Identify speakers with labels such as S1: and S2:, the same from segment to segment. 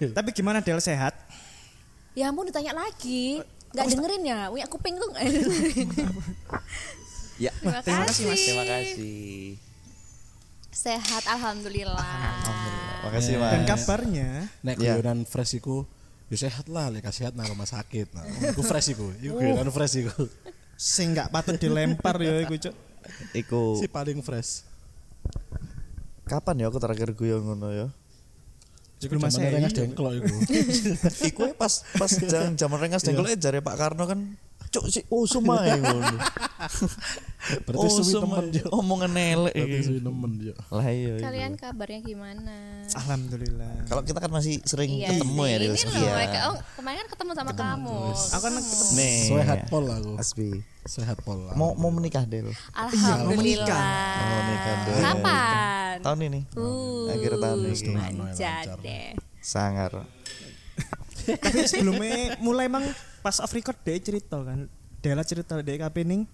S1: Del?
S2: Tapi gimana Del sehat?
S3: Ya ampun ditanya lagi. Gak dengerin ya, punya kuping tuh gak dengerin.
S1: Ya.
S3: Terima
S2: terima kasih,
S3: kasih.
S1: Terima kasih.
S3: Sehat alhamdulillah.
S1: Makasih Mas.
S2: Dan kabarnya
S4: Nek
S1: Iya.
S4: guyonan fresh iku ya sehat lah, lek gak sehat nang rumah sakit. Nah, iku fresh iku. Iku guyonan fresh iku.
S2: sing gak patut dilempar ya iku, Cuk.
S1: Iku
S4: Si paling fresh.
S1: kapan ya aku terakhir guyon ngono ya?
S2: Iku Mas
S4: Jaman
S2: Ei.
S4: rengas dengklok iku.
S1: Iku ya pas pas jaman jaman rengas dengkul jare Pak Karno kan cuk si usum ae ngono.
S4: Berarti suwi
S1: Usum
S4: temen
S1: ae.
S4: yo.
S1: Omongan elek
S4: Berarti
S1: iki.
S4: suwi temen yo.
S1: Lah iya. iya.
S3: Kalian kabarnya gimana?
S2: Alhamdulillah.
S1: Kalau kita kan masih sering
S3: Iya
S1: ketemu
S3: sih.
S1: ya Del.
S3: Ini loh,
S1: Iya.
S3: kayak- oh, kemarin kan ketemu sama kamu.
S2: Aku kan ketemu
S1: Nih.
S4: Sehat pol aku.
S1: Asbi.
S4: Sehat pol. aku.
S1: Mau mau menikah Del.
S3: Alhamdulillah.
S1: Mau menikah Del.
S3: Ah, Kapan?
S1: Tahun ini.
S3: Uh,
S1: Akhir tahun ini.
S4: ya,
S3: manja deh.
S1: Sangar.
S2: Tapi sebelumnya mulai emang pas off record dia cerita kan. Dela cerita dia kapening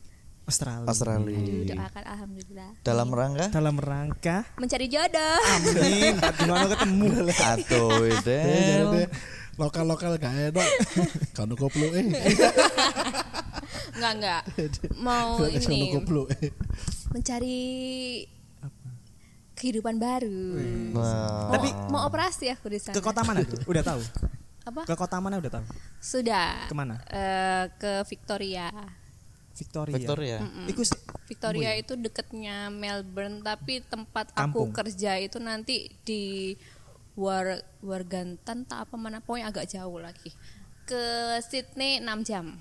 S2: Australia.
S1: Australia.
S3: Doakan alhamdulillah.
S1: Dalam rangka
S2: Dalam rangka
S3: Mencari jodoh.
S2: Ah. Amin, tak dimana ketemu.
S1: Atuh
S4: Eh, Iya.
S1: Del.
S4: Lokal lokal gak enak. Kan koplo eh.
S3: Enggak enggak.
S1: Oh,
S3: Mau
S4: Kan
S3: ini
S4: koplo eh.
S3: mencari kehidupan baru.
S1: Wah.
S3: Mau, mau operasi aku di sana.
S2: Ke kota mana? Dul? Udah tahu.
S3: Apa?
S2: Ke kota mana udah tahu?
S3: Sudah.
S2: Kemana?
S3: Eh, ke Victoria.
S2: Victoria.
S1: Victoria.
S2: Iku sih.
S3: Victoria itu deketnya Melbourne tapi tempat
S2: Kampung.
S3: aku kerja itu nanti di War Wargantan tak apa mana pokoknya agak jauh lagi. Ke Sydney 6 jam.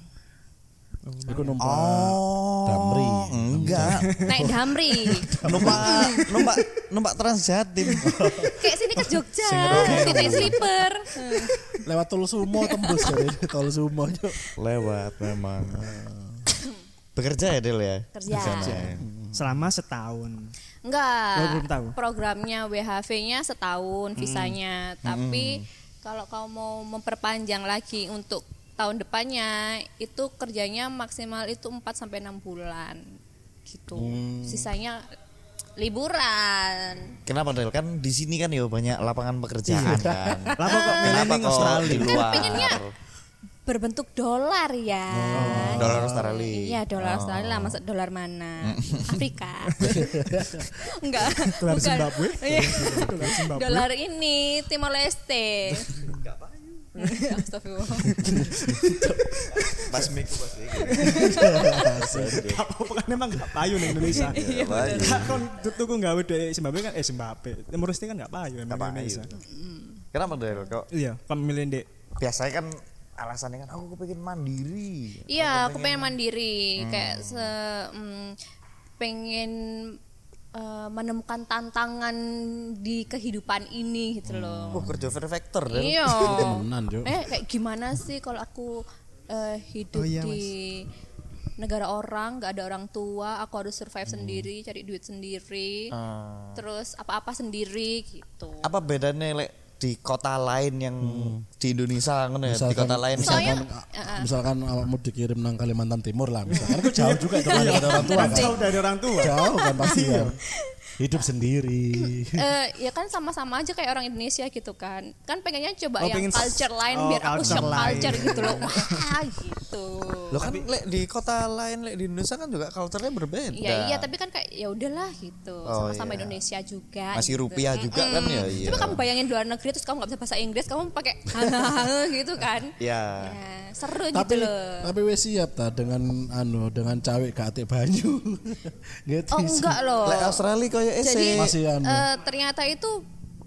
S4: Iku numpak.
S1: Oh,
S4: Damri.
S1: enggak.
S3: Naik Damri.
S1: numpak numpak numpak Transjatim.
S3: Kayak sini ke Jogja.
S1: Sing rono.
S3: Titik sleeper.
S4: Lewat tol sumo tembus dari tol sumo. Cuk.
S1: Lewat memang. Bekerja ya Del ya?
S3: Kerja.
S2: Selama setahun.
S3: Enggak.
S2: Oh, belum tahu. Hmm.
S3: Programnya WHV-nya setahun visanya, tapi kalau kau mau memperpanjang lagi untuk tahun depannya itu kerjanya maksimal itu 4 sampai 6 bulan. Gitu.
S2: Hmm.
S3: Sisanya liburan.
S1: Kenapa Del? Kan di sini kan ya banyak lapangan pekerjaan kan.
S2: Lah kok kok
S1: Kenapa
S2: milih
S1: kok
S2: Australia?
S1: di luar?
S3: pengennya Berbentuk dolar ya.
S1: Oh, Dolar Australia. Oh.
S3: Iya dolar Australia lah, masa dolar mana? Afrika. Enggak.
S2: Dolar
S3: bukan.
S2: Zimbabwe?
S3: Iya.
S2: Dolar Zimbabwe?
S3: dolar ini Timor Leste. Astagfirullah.
S1: Pas miku pas miku.
S2: Gak apa-apa kan memang gak payu nih Indonesia.
S1: Iya, payu.
S2: Gak kon tuku gawe dari Zimbabwe kan eh Zimbabwe. Timur Leste kan gak payu emang
S1: payu.
S2: Indonesia.
S1: Kenapa Del? Kok
S2: Iya, kon milih Dek.
S1: biasanya kan alasannya kan aku pengen mandiri.
S3: Iya, aku pengen mandiri, kayak
S1: Hmm.
S3: se mm, pengen eh, menemukan tantangan di kehidupan ini gitu loh.
S1: Aku kerja perfector Del.
S3: Iya.
S4: Temenan, Cuk.
S3: Eh, kayak gimana sih kalau aku eh, hidup
S2: Oh, iya,
S3: di negara orang, nggak ada orang tua, aku harus survive sendiri, cari duit sendiri,
S1: Hmm. Ah.
S3: terus apa-apa sendiri gitu.
S1: apa bedanya lek di kota lain yang di Indonesia ngono ya di kota lain
S3: misalkan-
S4: misalkan,
S1: ah.
S4: misalkan awakmu dikirim nang Kalimantan Timur lah misalkan itu jauh juga dong ada ada orang tua kan
S2: Jauh dari orang tua.
S4: jauh kan pasti kan hidup sendiri
S3: Eh, ya kan sama-sama aja kayak orang Indonesia gitu kan kan pengennya
S2: Oh,
S3: coba yang
S2: pengen-
S3: culture lain
S2: oh,
S3: biar aku
S2: culture
S3: shock
S2: lain.
S3: culture gitu loh wah gitu
S1: lo kan lek di kota lain lek di Indonesia kan juga culture-nya berbeda
S3: Iya iya tapi kan kayak ya udahlah gitu
S1: Oh,
S3: sama-sama
S1: iya.
S3: Indonesia juga
S1: masih
S3: gitu.
S1: rupiah juga kan ya iya
S3: Coba kamu bayangin di luar negeri terus kamu nggak bisa bahasa Inggris kamu pakai halo gitu kan
S1: ya
S3: ya, seru
S4: tapi
S3: gitu loh
S4: tapi wes siap ta dengan anu dengan cawek ke atik banyu gitu
S3: oh enggak loh
S1: lek Australia kaya
S3: jadi
S1: ese
S4: Masih anu.
S3: eh, ternyata itu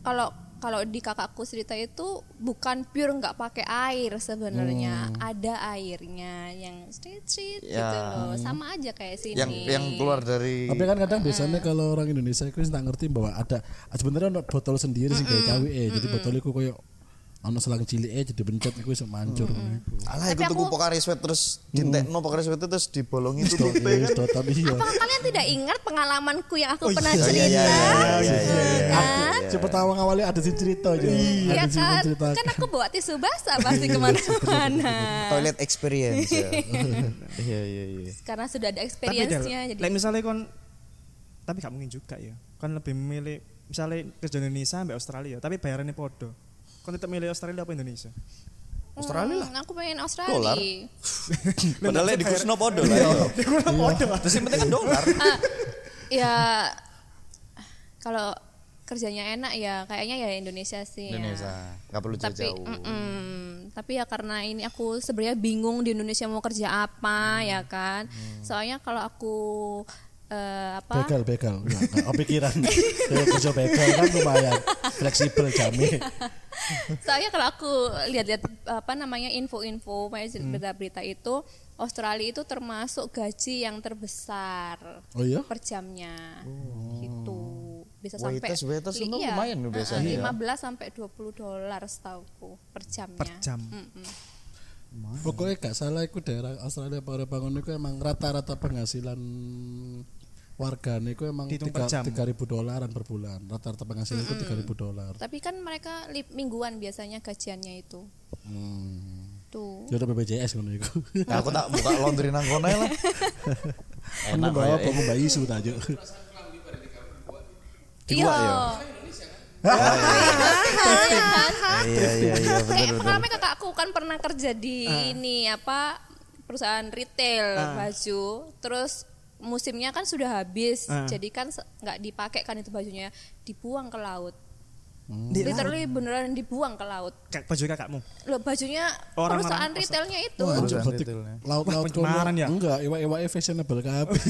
S3: kalau kalau di kakakku cerita itu bukan pure nggak pakai air sebenarnya ada airnya yang street street gitu
S1: Ya.
S3: loh sama aja kayak sini
S1: yang yang ya. keluar dari
S4: tapi kan kadang biasanya kalau orang Indonesia itu nggak ngerti bahwa ada sebenarnya ada botol sendiri sih kayak cawek eh jadi botol itu kayak ono selang cilik eh jadi bencet itu bisa mancur
S1: alah iku tuku Pocari Sweat terus dintekno Pocari Sweat itu terus dibolongi itu
S4: Wis, total iya
S3: Apakah kalian tidak ingat pengalamanku yang
S2: Oh,
S3: aku
S2: iya,
S3: pernah
S2: Ah.
S3: cerita
S1: Iya,
S4: Aku Cepet tahu ngawali ada si cerita aja.
S3: ya
S4: Ada si
S3: kan
S4: cerita.
S3: kan aku bawa tisu basah pasti kemana-mana
S1: toilet experience ya. iya iya iya
S3: karena sudah
S2: Tapi
S3: ada
S2: Del,
S3: experience-nya jadi
S2: lek misalnya kon tapi gak mungkin juga ya. Kon lebih milih misalnya kerja Indonesia sampai Australia tapi bayarannya podo. Kau tetap milih Australia apa Indonesia?
S1: Australia lah.
S3: Hmm, aku pengen Australia.
S1: Dolar. Padahal di Kusno podo lah. yo. Terus yang penting kan dolar.
S3: Ah, ya kalau kerjanya enak ya kayaknya ya Indonesia sih. ya.
S1: Indonesia nggak perlu
S3: Tapi mm.
S1: jauh-jauh.
S3: mm-mm. tapi ya karena ini aku sebenarnya bingung di Indonesia mau kerja apa ya kan. Soalnya kalau aku eh, apa
S4: Begal, begal. Enggak, enggak. Oh, pikiran. Kalau kerja begal kan lumayan fleksibel jamin.
S3: Soalnya kalau aku lihat-lihat apa namanya info-info kayak
S1: Hmm.
S3: berita-berita itu Australia itu termasuk gaji yang terbesar
S4: Oh iya?
S3: per jamnya.
S1: Hmm.
S3: Gitu. Bisa sampai
S1: Waiters, waiters itu
S3: iya,
S1: lumayan loh
S3: eh,
S1: biasanya. ya.
S3: eh, 15 sampai 20 dolar setauku per jamnya.
S2: Per jam.
S3: Mm-mm.
S4: Pokoknya gak salah itu daerah Australia para bangun itu emang rata-rata penghasilan warga itu emang
S2: Dihitung per
S4: tiga
S2: jam.
S4: tiga ribu dolaran per bulan rata-rata penghasilan itu tiga ribu dolar
S3: Tapi kan mereka lip- mingguan biasanya gajiannya itu. Tuh.
S2: Hmm.
S4: ya udah BPJS ngono itu
S1: Nah, aku tak buka laundry nang kono ya lah.
S4: enak bawa apa mbak isu tajuk
S3: Iya.
S1: ya? Oh, Iya iya iya
S3: Kayak pengalaman kakakku kan pernah kerja di ini apa perusahaan retail baju. Terus musimnya kan sudah habis.
S2: Ah.
S3: Jadi kan se- nggak dipakai kan itu bajunya, dibuang ke laut.
S2: Di
S3: Literally beneran dibuang ke laut.
S2: Kak, baju kakakmu.
S3: Loh bajunya
S2: Orang-orang
S3: perusahaan
S2: kosong.
S3: retailnya itu.
S2: Oh,
S4: Wah,
S1: Urusan
S4: berarti
S1: detailnya.
S4: laut-laut
S2: ya. Wah, pencemaran ya?
S4: enggak iwa-iwa fashionable kabeh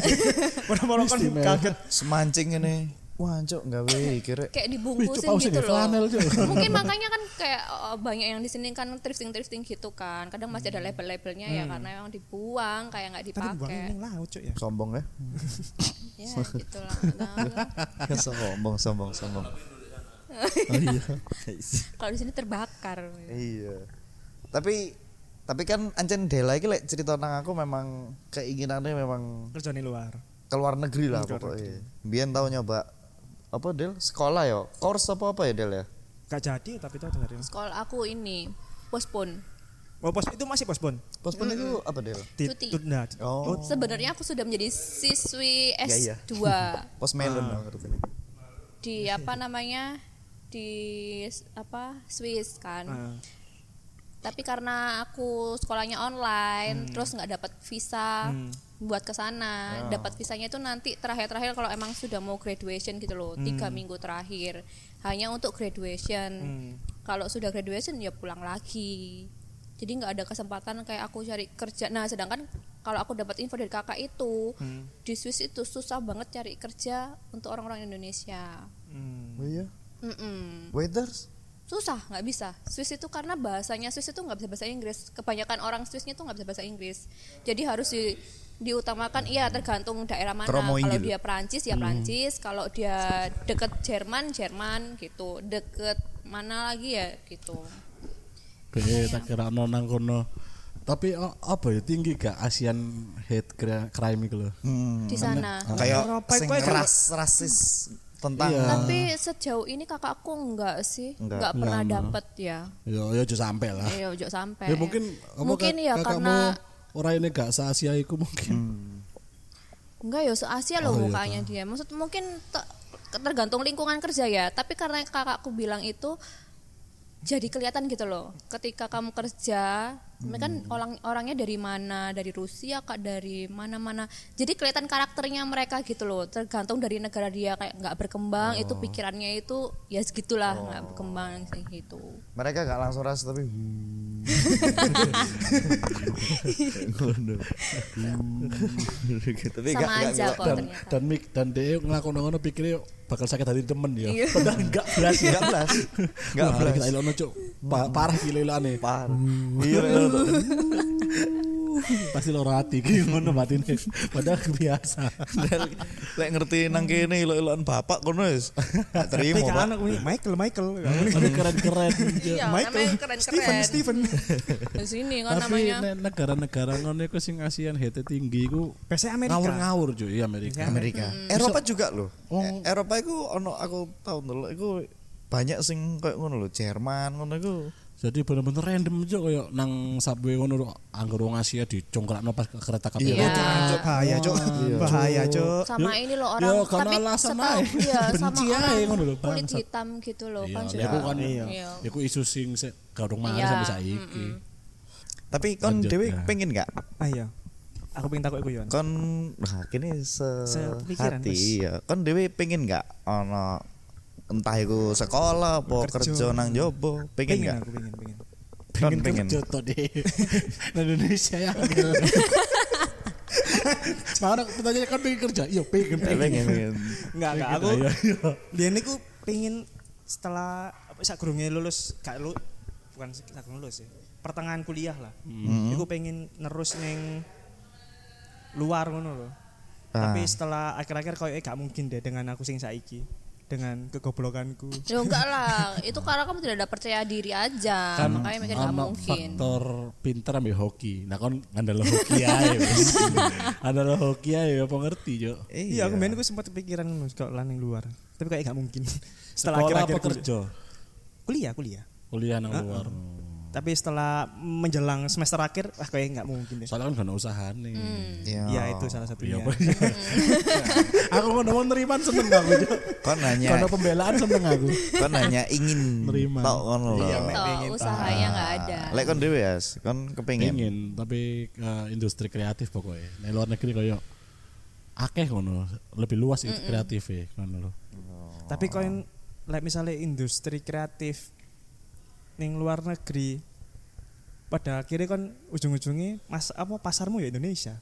S2: Orang-orang kan
S4: Istimewa.
S2: kaget.
S1: Semancing ini. Wah, cok gawe kira.
S3: kayak
S4: Wih,
S3: dibungkusin
S4: cok,
S3: gitu
S4: pausnya
S3: loh.
S4: flanel, cok.
S3: Mungkin makanya kan kayak eh, banyak yang di sini kan thrifting-thrifting gitu kan. Kadang masih ada label-labelnya ya karena emang dibuang kayak nggak
S2: Tadi buang
S3: dipakai.
S2: ini laut cok ya.
S1: Sombong ya.
S3: Ya gitu lah. Nah,
S1: sombong, sombong, sombong.
S4: oh iya
S3: kalau di sini terbakar.
S1: Iya. Tapi tapi kan ancen Dela iki lek cerita nang aku memang keinginannya memang
S2: Kerja di luar.
S1: ke luar negeri lah pokoknya. Biyen tau nyoba apa Del? Sekolah ya? Course apa apa ya Del ya?
S2: Gak jadi tapi tahu dengerin.
S3: Sekolah aku ini postpone.
S2: Oh, pos itu masih postpone. nah,
S1: Postpone itu apa Del?
S3: Cuti.
S2: Ditunda.
S1: Oh.
S3: Sebenarnya aku sudah menjadi siswi
S1: Ya, iya.
S3: S2
S1: Post melon dong ngerti.
S3: di apa namanya? di s- apa Swiss kan.
S2: Ah.
S3: Tapi karena aku sekolahnya
S1: Hmm.
S3: online, terus nggak dapat visa buat ke sana.
S1: Ah.
S3: Dapat visanya itu nanti terakhir-terakhir kalau emang sudah mau graduation gitu loh,
S1: Hmm.
S3: tiga minggu terakhir. Hanya untuk graduation.
S2: hmm.
S3: Kalau sudah graduation ya pulang lagi. Jadi nggak ada kesempatan kayak aku cari kerja. Nah, sedangkan kalau aku dapat info dari kakak itu
S2: Hmm.
S3: di Swiss itu susah banget cari kerja untuk orang-orang Indonesia.
S2: Hmm.
S1: Oh iya.
S3: Mm-mm
S1: Waiters.
S3: susah nggak bisa Swiss itu karena bahasanya Swiss itu nggak bisa bahasa Inggris kebanyakan orang Swissnya itu nggak bisa bahasa Inggris jadi harus di- diutamakan iya tergantung daerah mana
S1: Kromo
S3: kalau
S1: Inggil.
S3: dia Prancis ya Prancis kalau dia deket Jerman Jerman gitu deket mana lagi ya gitu
S4: Be, tak kira no nang kono. Tapi oh, apa ya tinggi gak ASEAN hate cri- crime itu loh.
S1: Hmm.
S3: di sana
S4: Ah.
S1: Kayak
S2: Eropa
S1: sing
S2: itu aja.
S1: ras rasis tentang
S4: Iya.
S3: tapi sejauh ini kakakku nggak sih
S1: Nggak.
S3: nggak pernah
S4: Nggak, Iya, no.
S3: dapet ya
S4: Ya ya aja sampai lah.
S3: Iya, ojo sampai.
S4: Ya mungkin apa,
S3: mungkin
S4: kak-
S3: ya
S4: kakakmu
S3: karena
S4: orang ini gak se-Asia iku mungkin.
S1: Hmm.
S3: Enggak ya, se-Asia loh
S4: Oh, iya,
S3: mukanya dia. Maksud mungkin te- tergantung lingkungan kerja ya. Tapi karena kakakku bilang itu jadi kelihatan gitu loh. Ketika kamu kerja, kan
S4: Hmm.
S3: orang orangnya dari mana? Dari Rusia kak, dari mana-mana. Jadi kelihatan karakternya mereka gitu loh. Tergantung dari negara dia kayak nggak berkembang,
S4: Oh.
S3: itu pikirannya itu ya segitulah nggak berkembang kayak gitu.
S1: mereka gak langsung ras tapi hmm. tapi
S3: Sama aja kok
S4: Dan
S3: ternyata.
S4: dan mik dan dia ngelakon ngono pikirnya bakal sakit hati temen ya.
S3: Iya.
S4: Padahal enggak belas ya.
S1: Gak belas. Gak
S4: Enggak belas.
S1: belas.
S4: Kita ilono cuk. Pa- parah gila ilane.
S1: Parah. Iya. iya, iya.
S4: Pasti loro hati ki ngono batine. Padahal biasa.
S1: Del, Lek ngerti nang kene ilo-iloan bapak kono wis. Tak
S2: Tapi kan
S1: Terima,
S2: gak
S1: Pak.
S2: anak ini Michael Michael.
S4: Tapi keren-keren.
S3: Iya, namanya keren-keren.
S2: Steven Steven.
S3: Di sini kan
S4: Tapi
S3: namanya.
S4: ne- negara-negara ngono iku sing ASEAN hate tinggi iku
S2: Biasanya Amerika.
S4: ngawur-ngawur cuy Iya, Amerika.
S1: Amerika. Hmm. Eropa juga loh. E- Eropa iku ono aku tau ndelok iku banyak sing koyo ngono lho, Jerman ngono iku.
S4: Jadi bener-bener random aja kayak nang subway ngono lho, anggar wong Asia dicongkrakno pas ke kereta kabeh.
S3: Iya.
S2: Ah, Cuk, bahaya cuk bahaya Oh, iya, cuk
S3: sama ini loh
S4: Ya,
S3: orang
S4: karena
S3: tapi
S4: alasan
S3: setahu
S4: aja.
S3: ya sama
S4: Benci aja
S3: orang
S4: ngono lho,
S3: kulit
S4: bangsat.
S3: hitam gitu loh
S4: Iya,
S3: kan
S4: ya aku kan
S2: Iya.
S4: iku isu sing se garung mari
S3: Iya,
S4: sampe saiki.
S1: Tapi kon
S4: Lanjut,
S1: dewe
S4: ya.
S1: pengen gak?
S2: ayo Ah, iya. aku pengen takut iku Yon
S1: Kon nah, kini
S2: Sepikiran,
S1: sehati ya. Kon dewe pengen gak ono entah iku sekolah apa kerja
S2: Kerja.
S1: nang jobo,
S2: pengen
S1: pengen gak?
S2: aku pengen pengen
S1: Kon pengen.
S4: kerja toh deh. Nah, Indonesia ya. Sekarang pertanyaannya kan pengen kerja. Iya, pengen
S1: Eh,
S4: pengen.
S1: Pengen. pengen.
S2: enggak enggak aku
S4: Ayo, ayo.
S2: dia niku pengen setelah apa sakurunge lulus gak lu bukan sakurung lulus ya pertengahan kuliah lah aku pengen nerus neng luar ngono loh
S1: Ah.
S2: tapi setelah akhir-akhir koyo gak mungkin deh dengan aku sing saiki dengan kegoblokanku
S3: Ya enggak lah, itu karena kamu tidak ada percaya diri aja.
S4: Kan
S3: Makanya mikir nggak
S4: Ono
S3: mungkin.
S4: faktor pinter ambil hoki. Nah, kon ngandel hoki ae wis. Ngandel hoki ae ya, apa ngerti, Jo?
S2: Iya, aku main aku sempat kepikiran ngono, kalau lan yang luar. Tapi kayak gak mungkin. Setelah
S4: Sekolah apa
S2: akhir-akhir kuliah.
S4: kerja?
S2: Kuliah, kuliah.
S4: Kuliah nang luar.
S2: Tapi setelah menjelang semester akhir, wah kayaknya nggak mungkin deh.
S4: Soalnya kan gak ada usaha nih.
S2: Iya, itu salah
S4: Iya,
S2: satunya.
S4: apa iya. Aku mau nemu neriman seneng aku, Jo.
S1: Kon
S4: Karena
S1: hanya
S4: pembelaan seneng aku.
S1: kon hanya ingin
S4: Nerima.
S1: tok ngono lho.
S2: Iya, Mek.
S3: Toh,
S2: pengen.
S3: usahanya nggak ada.
S1: Lek kon dhewe ya, kon kepengin.
S4: Pengen, tapi eh, industri kreatif pokoknya. Nek luar negeri koyo akeh ngono, lebih luas itu kreatif ya ngono lho.
S2: Tapi koin like misalnya industri kreatif ning luar negeri pada akhirnya kan ujung-ujungnya mas apa pasarmu ya Indonesia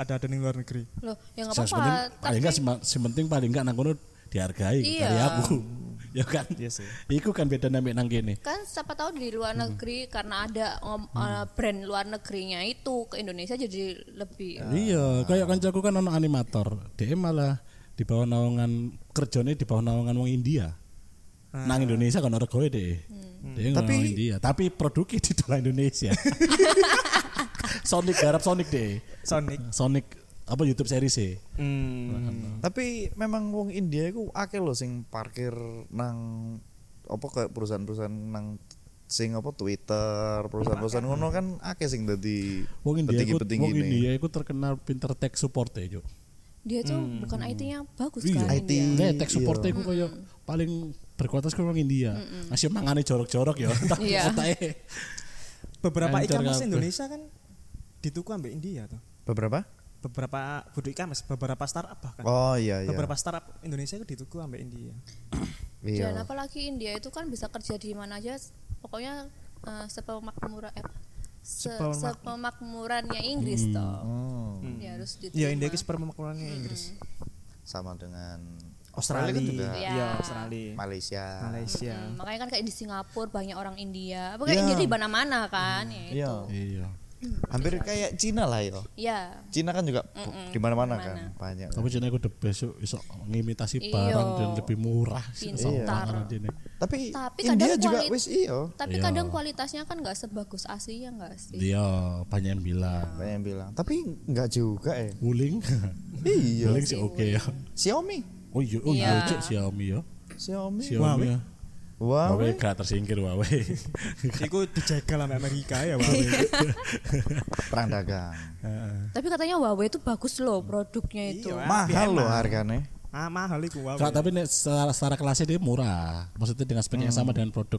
S2: ada ada ning luar negeri
S3: Loh, ya nggak
S4: Yang
S3: apa-apa.
S4: penting paling enggak
S3: Tapi
S4: sema- sing penting paling enggak nang kono dihargai
S3: Iya.
S4: karya aku. ya kan?
S2: Iya sih.
S4: Iku kan beda nambah nang kene.
S3: kan siapa tahu di luar
S4: Hmm.
S3: negeri karena ada ngom- eh, brand luar negerinya itu ke Indonesia jadi lebih
S4: Iya, kayak kancaku kan ono animator. Dia malah di bawah naungan kerjane di bawah naungan wong India. Nang Indonesia kan orang kowe deh. Dia
S1: Tapi-
S4: tapi India, tapi produknya di dalam Indonesia. Sonic garap Sonic deh. Ah,
S2: Sonic
S4: Sonic apa YouTube series e? sih?
S2: hmm.
S1: Tapi memang wong India iku akeh lho sing parkir nang apa kayak perusahaan-perusahaan nang sing apa Twitter, perusahaan-perusahaan ngono kan akeh sing dadi
S4: Wong India iku
S1: petinggi-petinggi
S4: wong
S1: ini.
S4: India iku terkenal pinter tech support ya, Cuk.
S3: dia tuh bukan IT-nya bagus
S4: Hmm. Iya.
S3: kan
S1: IT.
S3: dia.
S4: Nek tech support iku koyo paling berkualitas koyo wong India. Masih mangane jorok-jorok ya, tapi
S3: Iya.
S4: kotake.
S2: beberapa
S4: Hancur
S2: ikan mas
S4: kabeh.
S2: Indonesia kan dituku ambek India tuh
S1: Beberapa?
S2: beberapa budu ikan mas beberapa startup bahkan
S1: Oh iya iya.
S2: beberapa startup Indonesia itu dituku ambek India
S1: Iya.
S3: Dan apalagi India itu kan bisa kerja di mana aja, pokoknya eh, sepemakmuran eh, se-
S2: Sepemak-
S3: sepemakmurannya Inggris toh.
S1: Hmm,
S3: Ya harus diterima.
S2: ya India itu permakmurannya Inggris
S1: sama dengan
S2: Australia,
S1: kan juga.
S3: Iya.
S2: Iya, Australia
S1: Malaysia.
S2: Malaysia
S3: Hmm, makanya kan kayak di Singapura banyak orang India. Apa kayak India di mana-mana kan ya itu.
S1: Iya.
S4: Iya.
S1: Hampir kayak Cina lah ya.
S3: Iya.
S1: Cina kan juga bu- di mana-mana kan banyak.
S4: Tapi jenenge aku the best yuk, iso ngimitasi
S3: Iya.
S4: barang dan lebih murah sih.
S3: Pintar.
S1: Tapi,
S3: Tapi
S1: India
S3: kadang
S1: juga
S3: kuali-
S1: wis iya.
S3: Tapi
S4: Iya.
S3: kadang kualitasnya kan nggak sebagus Asia nggak sih?
S4: Dia Iya, banyak yang bilang.
S1: Banyak yang bilang. Tapi enggak juga eh.
S4: Wuling. Hmm.
S1: Iya.
S4: Wuling sih oke ya.
S1: Xiaomi.
S4: Oh iya, oh iya
S3: Iya.
S4: Cuk, Xiaomi ya.
S1: Xiaomi.
S4: Xiaomi. ya.
S1: Wow.
S4: Huawei kan- gak tersingkir Huawei.
S2: Iku dijegal sama Amerika ya
S1: Iya.
S2: Huawei.
S1: Perang dagang.
S3: Tapi katanya Huawei itu bagus loh
S1: Hmm.
S3: produknya
S1: Iya.
S3: itu.
S2: Iya,
S1: Mahal loh harganya.
S2: ah, mahal iku Huawei.
S4: Kak, tapi nek secara, secara kelasnya dia murah. Maksudnya dengan spek yang sama dengan produk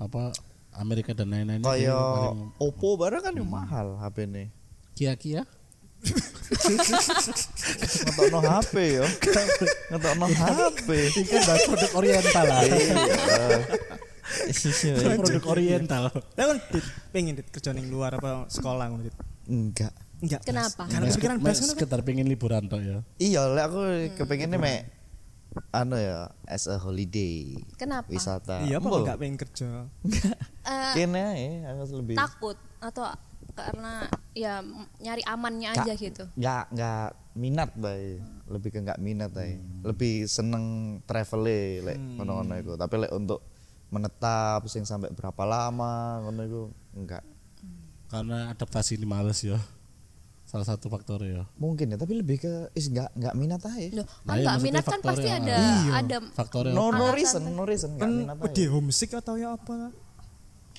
S4: apa Amerika dan lain-lain. dia
S1: Kayak
S4: paling-
S1: Oppo barang kan yang mahal HP ini.
S4: Kia Kia.
S1: Ngetokno HP yo. Ngetokno HP.
S4: Ini kan bahan produk Oriental lah.
S1: Iya.
S4: produk Oriental.
S2: Lah kan Dit, pengen dit kerja ning luar apa sekolah ngono dit.
S1: Enggak.
S2: Enggak. Bas.
S3: Kenapa?
S2: Karena kepikiran
S4: Mas,
S2: blas ngono. kan.
S4: sekedar pengen liburan toh ya.
S1: Iya, lek aku
S3: Hmm.
S1: kepengennya mek anu ya as a holiday.
S3: Kenapa?
S1: Wisata.
S2: Iya, apa
S1: Mbok,
S2: kok enggak pengen kerja?
S3: Eh,
S1: Kene ae aku lebih.
S3: takut atau karena ya m- nyari amannya aja gitu.
S1: Enggak enggak minat bae. Lebih ke enggak minat ae. Lebih seneng travel lek ngono-ngono iku. Tapi lek untuk menetap sing sampai berapa lama ngono iku enggak.
S4: Karena adaptasi ini males ya. Salah satu faktor ya.
S1: Mungkin ya, tapi lebih ke is enggak enggak minat ae.
S3: Loh,
S4: Nah,
S3: kan
S4: iya,
S3: nggak
S4: maksudnya
S3: minat kan
S4: faktor
S3: pasti
S4: yang- Iya,
S3: ada ada
S2: Iya.
S4: Faktornya
S1: No no reason, no reason
S2: Kan
S1: enggak minat ae.
S2: ya wedi homesick atau ya apa lah.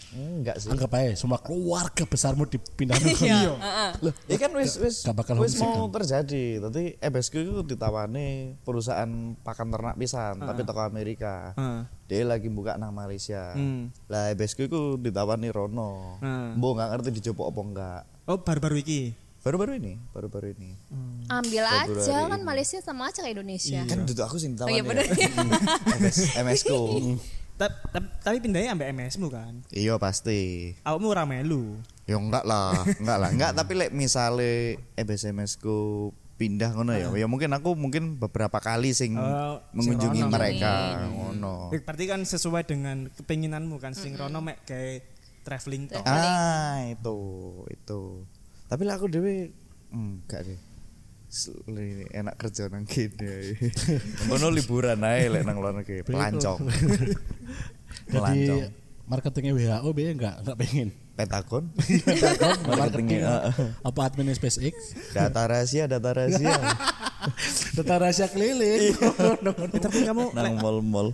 S1: Enggak sih.
S4: Anggap aja semua keluarga besarmu dipindah ke
S2: Iya.
S1: Loh, ya kan wis wis
S4: gak bakal
S1: wis
S4: homesick
S1: mau terjadi. Tadi ebesku itu ditawani perusahaan pakan ternak pisan, tapi toko Amerika.
S2: Heeh.
S1: Dia lagi buka nang Malaysia.
S2: Hmm.
S1: Lah ebesku itu ditawani Rono.
S2: Heeh.
S1: Mbok nggak ngerti dicoba apa enggak.
S2: Oh baru-baru iki.
S1: Baru-baru ini, baru-baru ini.
S2: Hmm.
S3: Ambil aja kan Malaysia sama aja kayak Indonesia.
S1: Kan duduk aku sing
S3: Oh
S1: ditawani.
S3: iya bener.
S1: ya. MS, MS ku.
S2: Ta- ta- Tapi pindahnya ambek MS-mu kan.
S1: Iya pasti.
S2: Awakmu ora melu.
S1: Ya enggak lah, enggak lah, enggak. Tapi like misale EBSMS ku pindah ngono ya, ya mungkin aku mungkin beberapa kali sing
S2: Hmm. Oh,
S1: mengunjungi
S2: sing rono.
S3: Iya,
S1: mereka
S5: Oh.
S1: ngono.
S2: Eh, Berarti kan sesuai dengan kepinginanmu kan sing rono mek kayak traveling tok.
S1: Ah itu itu. Tapi lah aku dewe enggak deh. S- li- enak kerja nang kene. Ngono liburan ae lek nang luar negeri, pelancong.
S4: Jadi
S1: pelancong.
S4: marketingnya WHO biaya enggak enggak pengen.
S1: Pentagon,
S4: marketing
S1: marketingnya. heeh.
S4: apa admin SpaceX?
S1: Data rahasia, data rahasia
S4: Data rahasia keliling.
S1: Iya.
S2: Eh, tapi kamu
S1: nang mall-mall.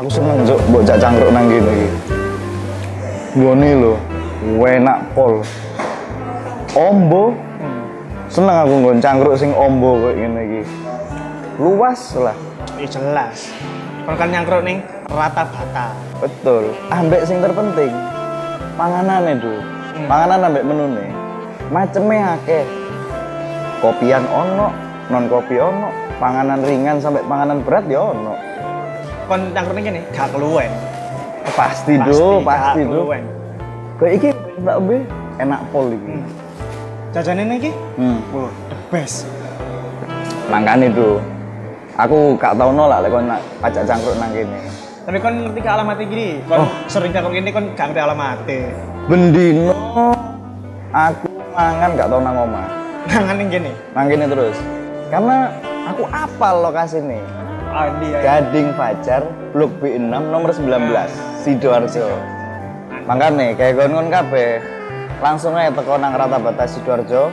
S6: Aku seneng juk mbok jak cangkruk nang kene iki. Ngene lho, enak pol. Ombo. Hmm. Seneng aku nggon cangkruk sing ombo koyo ngene iki. Luas lah,
S5: Ya jelas. Kalau kan nyangkruk nih rata bata.
S6: betul. Ambek sing terpenting, panganane dulu.
S5: Hmm.
S6: Panganan ambek menune. Maceme akeh. Kopian ono, non kopi ono, panganan ringan sampai panganan berat ya ono.
S5: Kon nyangkruk nih gini, gak keluwen.
S6: Pasti, do,
S5: gak
S6: pasti do.
S5: keluwen.
S6: Kayak iki mbak Be, enak pol iki.
S5: Jajanan ini,
S6: Hmm.
S5: wah, the best.
S6: Mangkane itu aku gak tau nolak lek kon nak ajak cangkruk nang kene.
S5: Tapi kon ngerti ke alamat gini, kon
S4: Oh.
S5: sering nyangkruk ini kon gak ngerti alamat.
S6: Bendino aku mangan gak tau nang omah.
S5: Nangan nih gini,
S6: Nang kene terus. Karena aku apal lokasi ini.
S5: ah ini ya.
S6: Gading Fajar, Blok B6 nomor 19, Sidoarjo. Mangkane kayak kon-kon kabeh langsung aja teko nang rata batas Sidoarjo.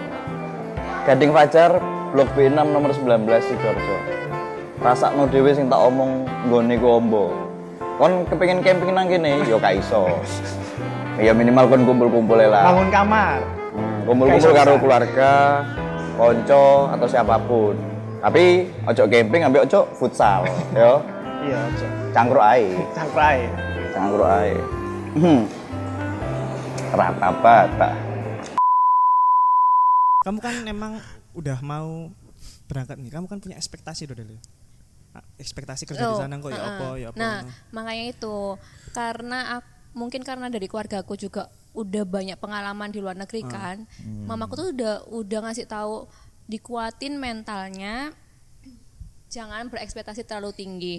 S6: Gading Fajar, Blok B6 nomor 19 Sidoarjo. Rasakno dhewe sing tak omong nggone ku ombo. Kon kepengin camping nang kene ya gak iso. Ya minimal kon kumpul-kumpul ae lah.
S5: Bangun kamar.
S6: Hmm, kumpul-kumpul karo keluarga, konco atau siapapun. Tapi ojo camping ambil ojo futsal, yo.
S5: Iya, aja.
S6: Cangkruk ae,
S5: Cangkruk aja.
S6: cangkruk ae. Hmm. Rata bata.
S2: kamu kan emang udah mau berangkat nih. Kamu kan punya ekspektasi do Del. Ah, Ekspektasi kerja di
S3: Oh,
S2: sana kok ya
S3: uh-uh.
S2: apa ya apa.
S3: Nah, makanya itu karena ak- mungkin karena dari keluarga aku juga udah banyak pengalaman di luar
S2: Ah.
S3: negeri kan. Mamaku tuh udah udah ngasih tahu dikuatin mentalnya jangan berekspektasi terlalu tinggi.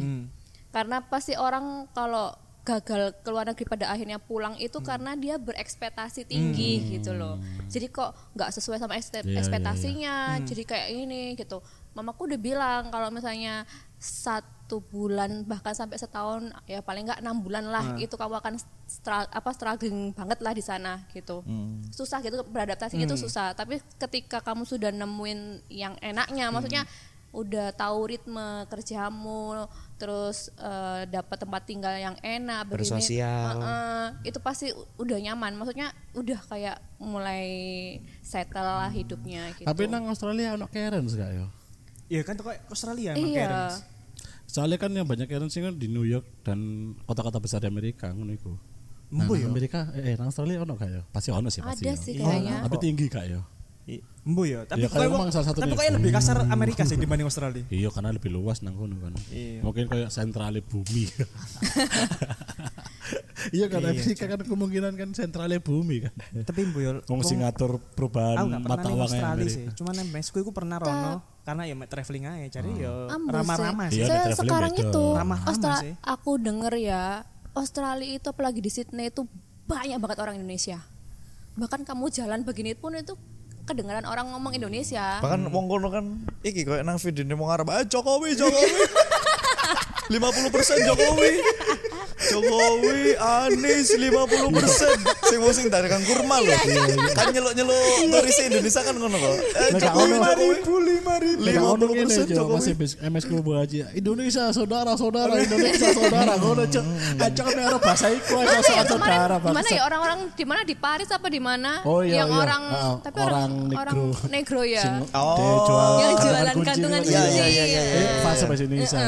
S3: Karena pasti orang kalau gagal ke luar negeri pada akhirnya pulang itu karena dia berekspektasi tinggi gitu loh. Jadi kok nggak sesuai sama ekspek-
S4: Iya, iya, iya.
S3: ekspektasinya, jadi kayak ini gitu. Mamaku udah bilang kalau misalnya satu bulan bahkan sampai setahun ya paling nggak enam bulan lah itu kamu akan stra- apa struggling banget lah di sana gitu susah gitu beradaptasinya itu susah tapi ketika kamu sudah nemuin yang enaknya maksudnya udah tahu ritme kerjamu terus eh, dapat tempat tinggal yang enak begini.
S1: Bersosial.
S3: Heeh, itu pasti u- udah nyaman maksudnya udah kayak mulai settle lah hidupnya gitu
S4: Tapi nang Australia ono Karen gak ya?
S2: Iya kan tuh kok Australia emang
S3: iya
S2: Karens.
S4: Soalnya kan yang banyak Karen sih kan di New York dan kota-kota besar di Amerika ngono iku. Nah,
S2: Mbo
S4: nang
S2: ya?
S4: Amerika eh eh, nang Australia ono gak ya? Pasti ono sih pasti.
S3: ada
S4: ya.
S3: sih kayaknya
S4: Tapi tinggi gak ya?
S2: I- Embu ya, tapi
S4: Ya, kayak
S2: kok-
S4: emang salah satunya.
S2: tapi kok lebih kasar Amerika sih dibanding Australia.
S4: Iya karena lebih luas nang kono kan.
S2: Iya.
S4: Mungkin kayak sentralnya bumi. iya kan Amerika kan kemungkinan kan sentralnya bumi kan.
S2: tapi Embu ya,
S4: Wong sing ngatur perubahan
S2: aku nggak pernah
S4: mata
S2: nih
S4: uangnya
S2: Australia sih.
S4: Amerika.
S2: Cuman yang mesku aku pernah rono karena ya mek traveling aja cari ya
S3: Ambo
S2: ramah-ramah
S3: sih.
S2: sih.
S4: Iya,
S3: Saya
S4: ada traveling
S3: sekarang
S4: beda.
S3: itu
S2: Ramah-ramah
S3: Austra-
S2: sih.
S3: aku denger ya Australia itu apalagi di Sydney itu banyak banget orang Indonesia. Bahkan kamu jalan begini pun itu kedengaran orang ngomong Indonesia.
S1: Bahkan wong kono kan iki koyo nang video wong Arab, "Eh Jokowi, Jokowi." 50% Jokowi. Jokowi Anies 50 persen sing mau sing dari kurma loh kan nyeluk nyeluk turis Indonesia kan ngono kok eh,
S4: Nek gak
S1: Jokowi
S4: ono-
S1: Jokowi
S4: Nek Iya,
S1: 50
S4: ono ngene,
S1: persen
S4: Jo,
S1: Jokowi
S4: masih bis- MS Kubu aja. Indonesia saudara saudara Indonesia saudara ngono cok. Acok nek ora bahasa iku ae
S3: Mana
S4: masuk
S3: ya
S4: saudara
S3: kemarin? Mana
S4: bangsa.
S3: ya orang-orang di mana di Paris apa di mana?
S4: Oh iya
S3: yang
S4: iya.
S3: orang
S4: Ah,
S3: tapi
S4: orang
S3: orang
S4: negro.
S3: orang negro ya.
S4: Sing
S1: Oh.
S4: dia
S3: Yang
S4: jual kantungan
S3: jualan
S4: kunci
S3: kantungan
S4: gitu. Iya,
S3: kunci.
S4: iya, iya, iya.
S3: Iya.
S4: Eh, Fase bahasa Indonesia.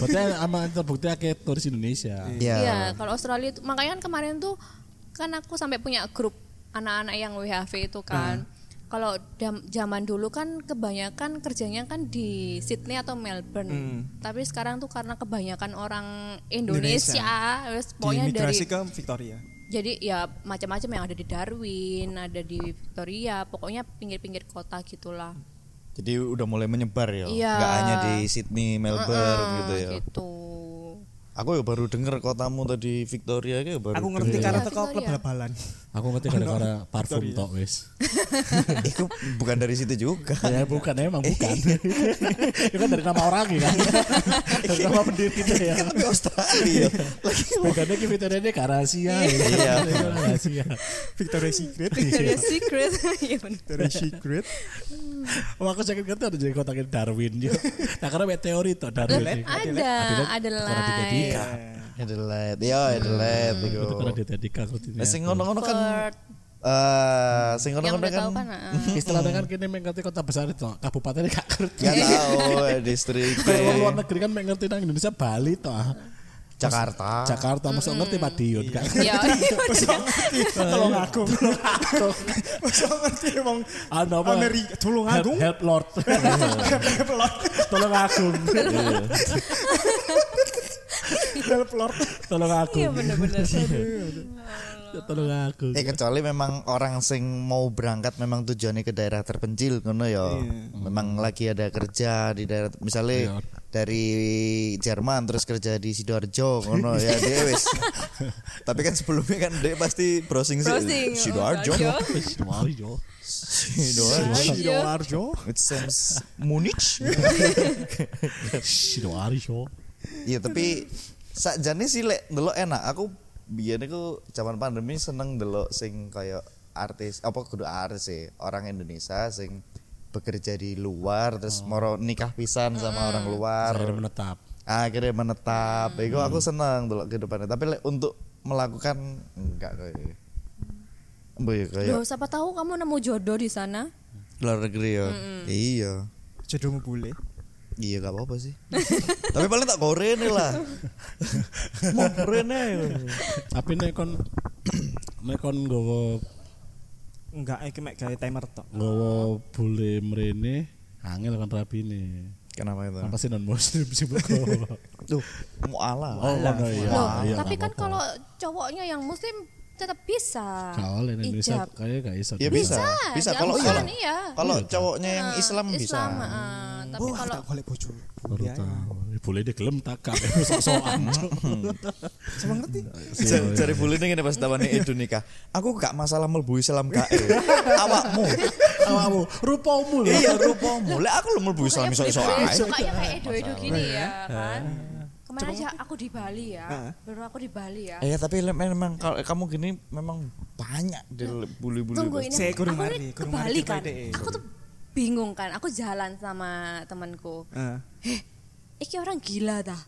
S4: Berarti ama terbukti akeh turis Indonesia.
S1: ya
S3: Iya, kalau Australia itu makanya kan kemarin tuh kan aku sampai punya grup anak-anak yang WHV itu kan.
S4: Hmm.
S3: Kalau dam- zaman dulu kan kebanyakan kerjanya kan di Sydney atau Melbourne.
S4: Hmm.
S3: Tapi sekarang tuh karena kebanyakan orang Indonesia, wes pokoknya dari
S2: Diimigrasi ke Victoria.
S3: jadi ya macam-macam yang ada di Darwin, ada di Victoria, pokoknya pinggir-pinggir kota gitulah.
S1: jadi udah mulai menyebar ya
S3: Iya.
S1: nggak hanya di Sydney Melbourne gitu ya
S3: Gitu.
S1: aku ya baru denger kotamu tadi Victoria kayak baru
S2: Aku ngerti karena
S3: Iya,
S2: teko
S3: Victoria.
S2: kleb-lebalan.
S4: Aku ngerti gara-gara parfum tok wis.
S1: itu bukan dari situ juga
S4: Ya bukan emang bukan. Itu kan dari nama orang ya kan. Dari nama pendirinya ya.
S1: tapi kan Australia
S4: Bedanya ki fiturnya gak rahasia.
S1: Iya.
S4: Rahasia.
S2: Victoria Secret.
S3: Victoria's Secret. Iya bener.
S2: Victoria Secret.
S4: Wah Oh, aku sakit ngerti ada jadi kotakin Darwin ya. Nah karena ada teori tok Darwin.
S3: Ada, ada
S4: Karena
S3: lain.
S4: ditetika.
S1: Adelaide ya Adelaide itu
S4: Karena ditetika ngerti. ya.
S1: Nah, sing ngono-ngono kan
S3: Perth.
S1: eh sing
S3: Yang
S1: ngono-ngono
S3: udah tahu
S1: kan
S3: kan. ah.
S4: Istilahnya kan kini mengerti kota besar itu, kabupatennya gak ngerti.
S1: Gak tahu eh, distrik
S4: Kayak orang luar negeri kan mengerti nang Indonesia Bali toh.
S1: Jakarta. Iya.
S4: Jakarta masuk
S2: Hmm.
S4: ngerti Madiun gak ngerti.
S3: Ya,
S2: Tolong aku. Masa ngerti emang
S4: Ano apa?
S2: Amerika. Tulung
S4: Help,
S2: Agung.
S4: help Lord. Tolong aku. Iya.
S2: Help Lord.
S4: Tolong aku.
S3: iya bener-bener.
S4: Tolong aku.
S1: Eh kecuali memang orang sing mau berangkat memang tujuannya ke daerah terpencil ngono ya. Memang lagi ada kerja di daerah misalnya dari Jerman terus kerja di Sidoarjo ngono ya dia wis. Tapi kan sebelumnya kan dia pasti browsing, sih,
S3: Browsing, oh,
S1: Sidoarjo.
S4: Iya.
S3: Sidoarjo.
S4: Mario.
S1: Sidoarjo.
S2: Sidoarjo.
S1: It seems Munich.
S4: Sidoarjo.
S1: Iya tapi sakjane sih lek ndelok enak. Aku biyen iku zaman pandemi seneng ndelok sing kayak artis apa kudu artis sih, orang Indonesia sing bekerja di luar terus moro nikah pisan sama orang luar.
S4: Saya menetap.
S1: Akhirnya menetap. Iku aku seneng ndelok kehidupannya. Tapi lek untuk melakukan enggak kayak Boy,
S3: Loh,
S1: kayak
S3: siapa tahu kamu nemu jodoh di sana?
S1: luar negeri ya. Iya.
S2: Jodohmu boleh.
S1: Iya gak apa-apa sih. Tapi paling tak koren lah. Mau koren aja.
S4: Tapi nek kon nek kon nggawa
S2: Enggak, iki mek gawe timer tok.
S4: nggawa bule mrene angel kan rabine.
S1: Kenapa itu?
S4: Apa sih non muslim sih nggawa.
S1: Tuh, mau ala.
S4: Oh, ngono iya.
S1: Ah,
S3: Loh,
S4: iya,
S3: tapi
S4: gak
S3: kan
S4: apa-apa.
S3: kalau cowoknya yang muslim tetap bisa.
S4: Gak oleh nek Indonesia
S3: Ijab.
S4: kayaknya gak iso.
S1: Ya bisa. Bisa
S3: di
S1: kalau
S3: Al-Quran
S1: kalau
S3: iya. Nah,
S1: kalau cowoknya yang Islam bisa.
S3: Islam, ah, tapi
S2: Wah,
S3: kalau
S2: tak golek bojo.
S4: Baru
S2: Ya,
S4: tahu. Eh, Boleh dia gelem tak kak. Sok-sokan.
S2: Sama ngerti.
S1: Jar- Jari bully ini pas tawane Edu nikah. Aku gak masalah melbu Islam kae. Awakmu.
S4: Awakmu rupamu lho.
S1: Iya rupamu. Lah aku lo melbu Islam iso iso
S3: Kayak
S1: ae.
S3: sukanya kayak edo-edo gini ya kan. Kemarin aja aku di Bali
S1: Ah.
S3: ya, baru aku di Bali ya.
S1: Eh tapi le- memang kalau kamu gini memang banyak deh le- bully-bully.
S3: Tunggu ini,
S2: Gitu. Saya
S3: aku
S2: kurang mari,
S3: ini ke
S2: kurang
S3: Bali
S2: mari
S3: kan.
S2: DPD.
S3: Aku tuh bingung kan, aku jalan sama temanku.
S2: Ah.
S3: Heh, iki orang gila dah.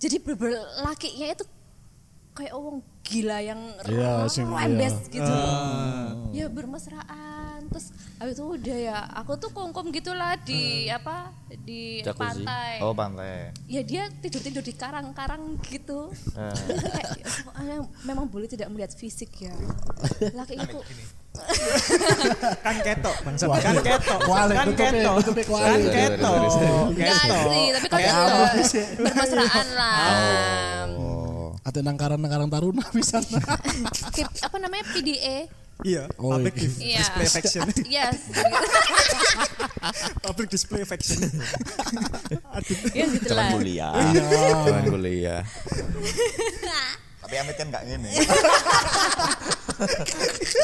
S3: Jadi berber lakinya itu kayak orang gila yang
S4: Iya, sing-
S3: rembes
S4: iya.
S3: gitu.
S2: Ah.
S3: Ya bermesraan. Terus habis itu udah ya, aku tuh kongkom gitulah di
S2: Hmm.
S3: apa? di pantai.
S1: Oh pantai.
S3: Ya dia tidur-tidur di karang-karang gitu.
S1: Ah.
S3: Kayak, soalnya memang boleh tidak melihat fisik ya. Lakinya kok
S2: Kan ketok, bangsat. Kan ketok.
S4: iya. Kualik,
S2: Kan
S4: tutupnya,
S2: ketok.
S4: tutupnya
S2: Kan
S4: kualik. Iya,
S2: ketok. Kan
S3: Enggak
S2: Ketok.
S3: sih, tapi kan kalau itu bermesraan lah.
S1: Oh.
S4: Ate nang karang nang karang taruna bisa.
S3: Kit- apa namanya PDA?
S2: Iya,
S4: Oh,
S2: public
S4: iya.
S2: dis-
S3: Iya.
S2: display affection.
S3: Yes.
S2: public display affection.
S3: ya gitu
S1: Cuman
S3: lah.
S1: kuliah.
S4: Oh, kan
S1: Cuman kuliah. Tapi Amit kan gak ngene.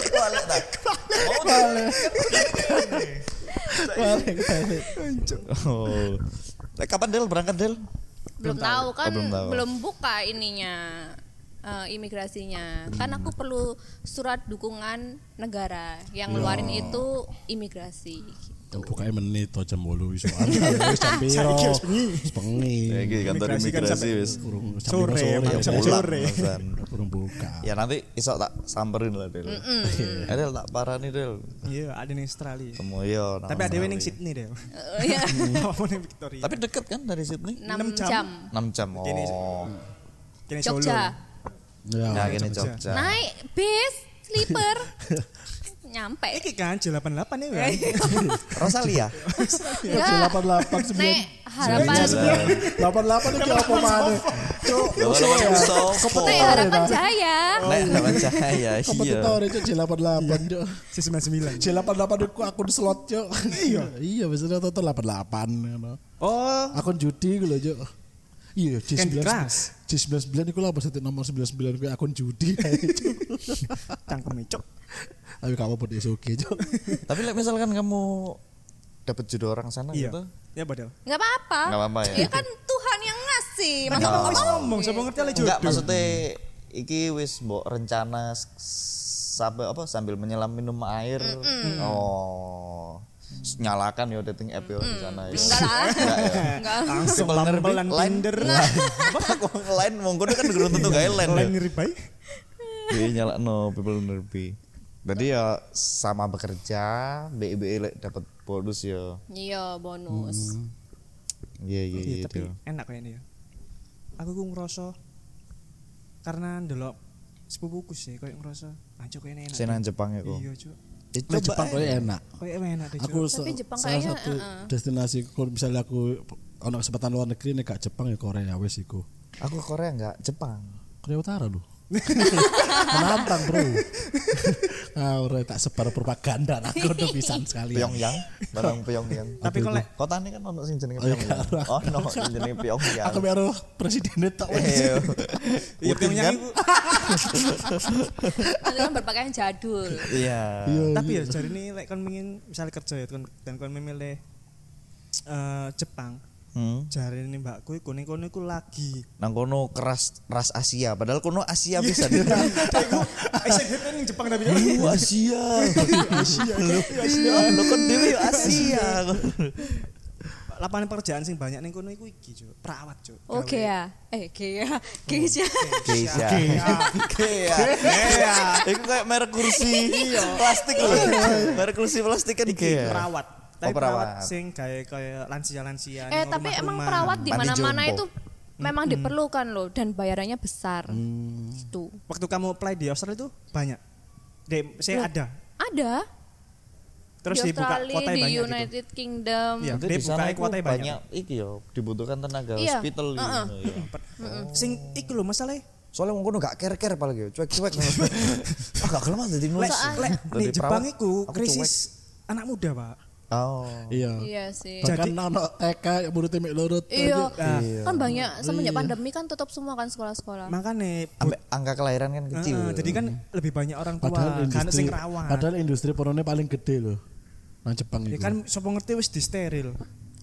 S1: Kualik tak. Oh, Lek, kapan Del berangkat Del?
S3: belum tahu kan
S1: belum
S3: belum,
S1: tahu.
S3: buka ininya eh, imigrasinya kan aku perlu surat dukungan negara yang ngeluarin itu imigrasi gitu.
S4: Bukae menit to jam 8 iso. Wis jam piro? Wis bengi.
S1: Ya, iki kantor
S2: Imigrasi kan
S1: imigrasi
S2: sampai-
S1: wis.
S4: Burung jam
S2: Sore,
S4: lima
S2: Bang,
S4: ya,
S2: jam
S4: pulang.
S2: sore.
S1: Alasan.
S4: Burung buka.
S1: Ya nanti iso tak samperin lah Del. Eh, Del tak parani Del.
S2: Iya, ada ning Australia.
S1: Temuyo.
S2: Tapi ada yang ning Sydney deh.
S3: Eh, ya.
S2: Apa ning Victoria?
S1: Tapi deket kan dari Sydney?
S2: Enam
S3: 6
S2: jam.
S3: jam,
S1: 6 jam. Oh.
S2: Kene Solo.
S3: Jogja
S4: Ya,
S1: Nah, gini Jogja.
S3: naik bis sleeper nyampe
S2: Iki kan J88 ya kan.
S3: Iya.
S1: Rosalia.
S4: iya,
S3: Enggak.
S1: Nah.
S4: 88
S3: Nek Ya, harapan
S4: iya, iki apa maneh? Cuk,
S1: Kalau
S4: ya.
S1: iso.
S3: Nek
S1: iya.
S3: harapan jaya
S1: Nek sama cahaya. Iya.
S4: Kompetitor itu J88 Cuk.
S2: C99.
S4: J88 itu akun slot Cuk. Iya, iya biasanya total 88 ngono.
S2: Oh,
S4: akun judi gue loh Jok. Iya,
S2: Candy
S4: J19.
S2: Crush.
S4: J19 iku lah berarti nomor 99 gue akun judi.
S2: cangkem cok.
S4: Ayo kamu buat esok aja.
S1: Tapi like, misalkan kamu dapat jodoh orang sana
S2: Iya.
S1: gitu.
S2: Ya padahal.
S3: nggak apa-apa
S1: Nggak apa-apa Iya. ya.
S3: Iya kan Tuhan yang ngasih masa
S2: Kamu
S3: mau
S2: wis
S3: ngomong
S2: ngomong, sapa ngerti oleh
S1: Enggak,
S2: jodoh.
S1: maksudnya iki wis mbok rencana s- sampai apa sambil menyelam minum air. Oh. S- Nyalakan ya dating app ya di sana. ya.
S3: enggak lah
S1: Enggak ya.
S3: enggak
S2: Langsung pelan-pelan
S1: Lain-
S2: Tinder.
S1: Apa aku lain monggo kan guru tentu gawe lain.
S2: Lain ngiribai.
S1: Jadi nyala no people nerbi. Berarti ya sama bekerja, BIBI lek dapat bonus ya.
S3: iya bonus
S1: Iya iya
S2: Iya,
S1: iya.
S2: tapi
S1: Dil.
S2: enak kayaknya ya. Aku ku ngerasa karena ndelok sepupuku sih kayak ngerasa anjuk kayaknya enak.
S1: Senan Jepang ya kok.
S2: Iya, Cuk.
S1: Ya,
S4: Nah,
S1: coba
S4: Jepang kayaknya enak.
S2: Kayak enak deh, Cuk.
S4: Aku se-
S3: Jepang
S4: salah
S3: kayaknya, eh,
S4: satu destinasi kalau misalnya aku ono kesempatan luar negeri nih gak Jepang ya Korea wes iku.
S1: Aku Korea enggak, Jepang.
S4: Korea Utara loh. Menantang bro. Ah, ora tak sebar propaganda aku udah pisan sekali.
S1: Pyongyang, barang Pyongyang.
S2: Tapi kalau lek-
S1: kota ini kan ono sing jenenge Pyongyang. Oh, no, sing jenenge Pyongyang.
S4: Aku baru presidennya tak
S1: Iya.
S2: Iya,
S1: Putin
S2: Pyongyang
S1: kan?
S2: iku- Ah,
S3: kalian Kan berpakaian jadul
S1: Iya.
S2: tapi ya cari ini like kon pengen misalnya kerja ya kon dan kon memilih eh, Jepang
S1: Hmm.
S2: jari ini mbakku iku ning kono iku lagi
S1: Nang kono keras ras Asia, padahal kono Asia bisa. Dil.
S2: eh saya kira ning Jepang tapi
S1: Lu Asia. Asia. Lu Asia. Lu kan dhewe yo Asia.
S2: lapangan pekerjaan sing banyak ning kono iku iki Cuk. perawat Cuk.
S3: oke ya eh Gea Geisha
S1: Keisha. Keisha. Iya. Iku kayak merek kursi plastik loh. Merek kursi plastik kan
S2: Iki
S1: Gea.
S2: perawat tapi
S1: Oh, perawat.
S2: perawat. sing kayak kayak lansia-lansia
S3: eh
S2: ning
S3: tapi
S2: rumah-rumah.
S3: emang perawat di
S1: Panti
S3: mana-mana
S1: jompo.
S3: itu memang diperlukan loh dan bayarannya besar Gitu. itu
S2: waktu kamu apply di Australia itu banyak Dek, saya ada
S3: ada
S2: terus
S3: di
S2: dibuka
S3: Australia,
S2: kuota
S3: di
S2: banyak gitu
S3: United Kingdom
S2: Iya.
S1: Itu
S2: Dia
S1: di sana
S2: bukae
S1: iku
S2: kuotanya
S1: banyak,
S2: banyak.
S1: iki yo dibutuhkan tenaga
S3: Iya.
S1: hospital gitu. iya.
S2: Hmm. sing iku lho masalahnya
S1: Soalnya wong kono gak care-care apalagi cuek-cuek. Ah gak gelem ah dadi nulis.
S2: lek lek
S1: Dadi
S2: di Jepang
S1: perawat,
S2: iku
S1: aku
S2: krisis anak muda pak
S1: cuek. Oh.
S4: Iya.
S3: iya sih
S4: Bahkan ono TK yang mulutnya mek lurut.
S3: Iya,
S2: Nah.
S3: kan banyak semenjak pandemi kan tutup semua kan sekolah-sekolah.
S2: makanya
S1: Ambek angka kelahiran kan kecil.
S2: Heeh, jadi kan lebih banyak orang tua
S4: Padahal
S2: kan
S4: industri,
S2: sing rawan.
S4: padahal industri pornonya paling gede loh. Nang Jepang
S2: ya
S4: itu.
S2: kan sopo ngerti wis disteril.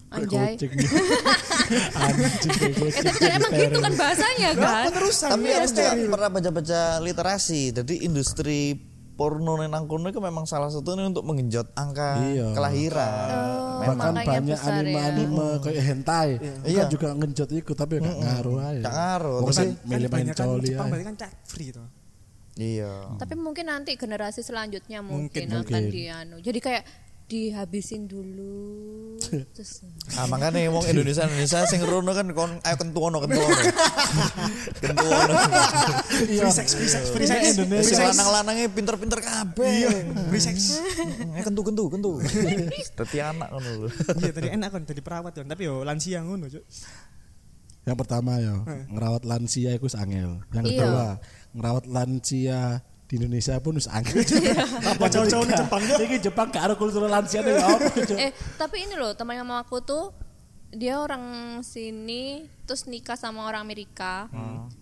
S3: Anjay.
S4: Kucing. Anjing
S3: Eh
S4: kayak kucing.
S3: tapi kan emang gitu kan bahasanya kan.
S2: Penerusan
S1: Tapi
S2: ya
S1: aku juga
S2: steril.
S1: pernah baca-baca literasi. Jadi industri porno nang kono itu memang salah satunya untuk menggenjot angka
S4: Iya.
S1: kelahiran.
S3: Oh.
S4: Bahkan
S3: Makanya
S4: banyak
S3: besar ya.
S4: anime-anime kayak hentai.
S1: Iya.
S4: Kan juga ngejot ikut tapi gak ngaruh aja.
S1: Gak ngaruh.
S4: Wong
S1: Terus-
S4: sih
S2: Kan
S4: milih main
S2: banyak kan
S4: coli
S1: eh.
S2: Jepang
S4: aja.
S2: berarti kan cat free tuh.
S1: Iya.
S3: Tapi mungkin nanti generasi selanjutnya
S2: Mungkin,
S3: mungkin, akan dianu. Jadi kayak dihabisin dulu. Terus
S1: Ah, makanya wong Indonesia Indonesia sing rono kan kon ayo kentuono kentuono. kentuono.
S2: Free sex, free sex, free sex.
S1: Iya. Indonesia lanang-lanange pinter-pinter kabeh.
S2: Iya, free sex.
S1: Eh kentu kentu kentu. Dadi anak ngono lho.
S2: Iya tadi enak kan tadi perawat kan, tapi yo lansia ngono, Cuk.
S4: Yang pertama ya, ngerawat lansia itu wis angel. Yang
S3: Iya.
S4: kedua, ngerawat lansia di Indonesia pun harus angel. Apa
S2: jauh-jauh di Jepang, Cuk?
S4: Ini Jepang gak ada kultur lansia nih. gak apa, Cuk.
S3: eh tapi ini loh teman mama aku tuh dia orang sini terus nikah sama orang Amerika.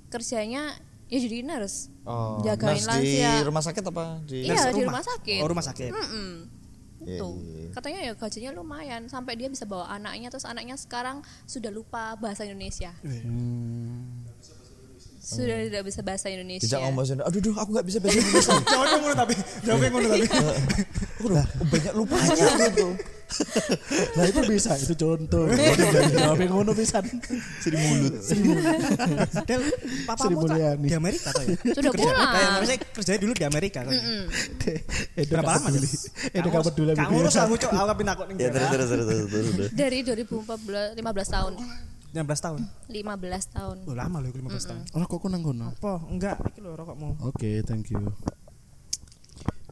S3: Kerjanya ya jadi nurse.
S1: Oh,
S3: Jagain
S1: nurse di
S3: lansia.
S1: rumah sakit apa di
S3: Iya, di rumah sakit.
S2: Oh, rumah sakit.
S3: Mm-mm. itu katanya ya gajinya lumayan sampai dia bisa bawa anaknya terus anaknya sekarang sudah lupa bahasa Indonesia sudah tidak bisa bahasa Indonesia
S1: Dijak ngomong sini, aduh duh, aku nggak bisa bahasa Indonesia.
S2: Jawabnya ngono tapi, jawabnya ngono tapi.
S3: Iya.
S1: Aku udah banyak lupanya gitu.
S4: Nah itu bisa, itu contoh. Jawabnya ngono pisan.
S1: Sini mulut.
S2: Del,
S4: Sri
S2: papamu tak
S4: Mulyani.
S2: di Amerika toh ya?
S3: Sudah
S2: Kerja-
S3: pulang.
S2: Eh, maksudnya kerjanya dulu di Amerika kan.
S4: Edo
S2: Berapa
S4: gak
S2: lama?
S4: peduli. Edo gak peduli. sama
S2: Kamu
S4: dia.
S2: urus aku cok, aku kapin aku ning
S1: Ya terus
S2: daerah.
S1: terus terus terus terus. terus.
S3: dari 2014 15 tahun
S2: 16 tahun.
S3: 15 tahun
S2: Oh, lama loh 15 tahun.
S4: Oh kok aku nang kono?
S2: Apa? Enggak, iki lho rokokmu.
S4: Oke, thank you.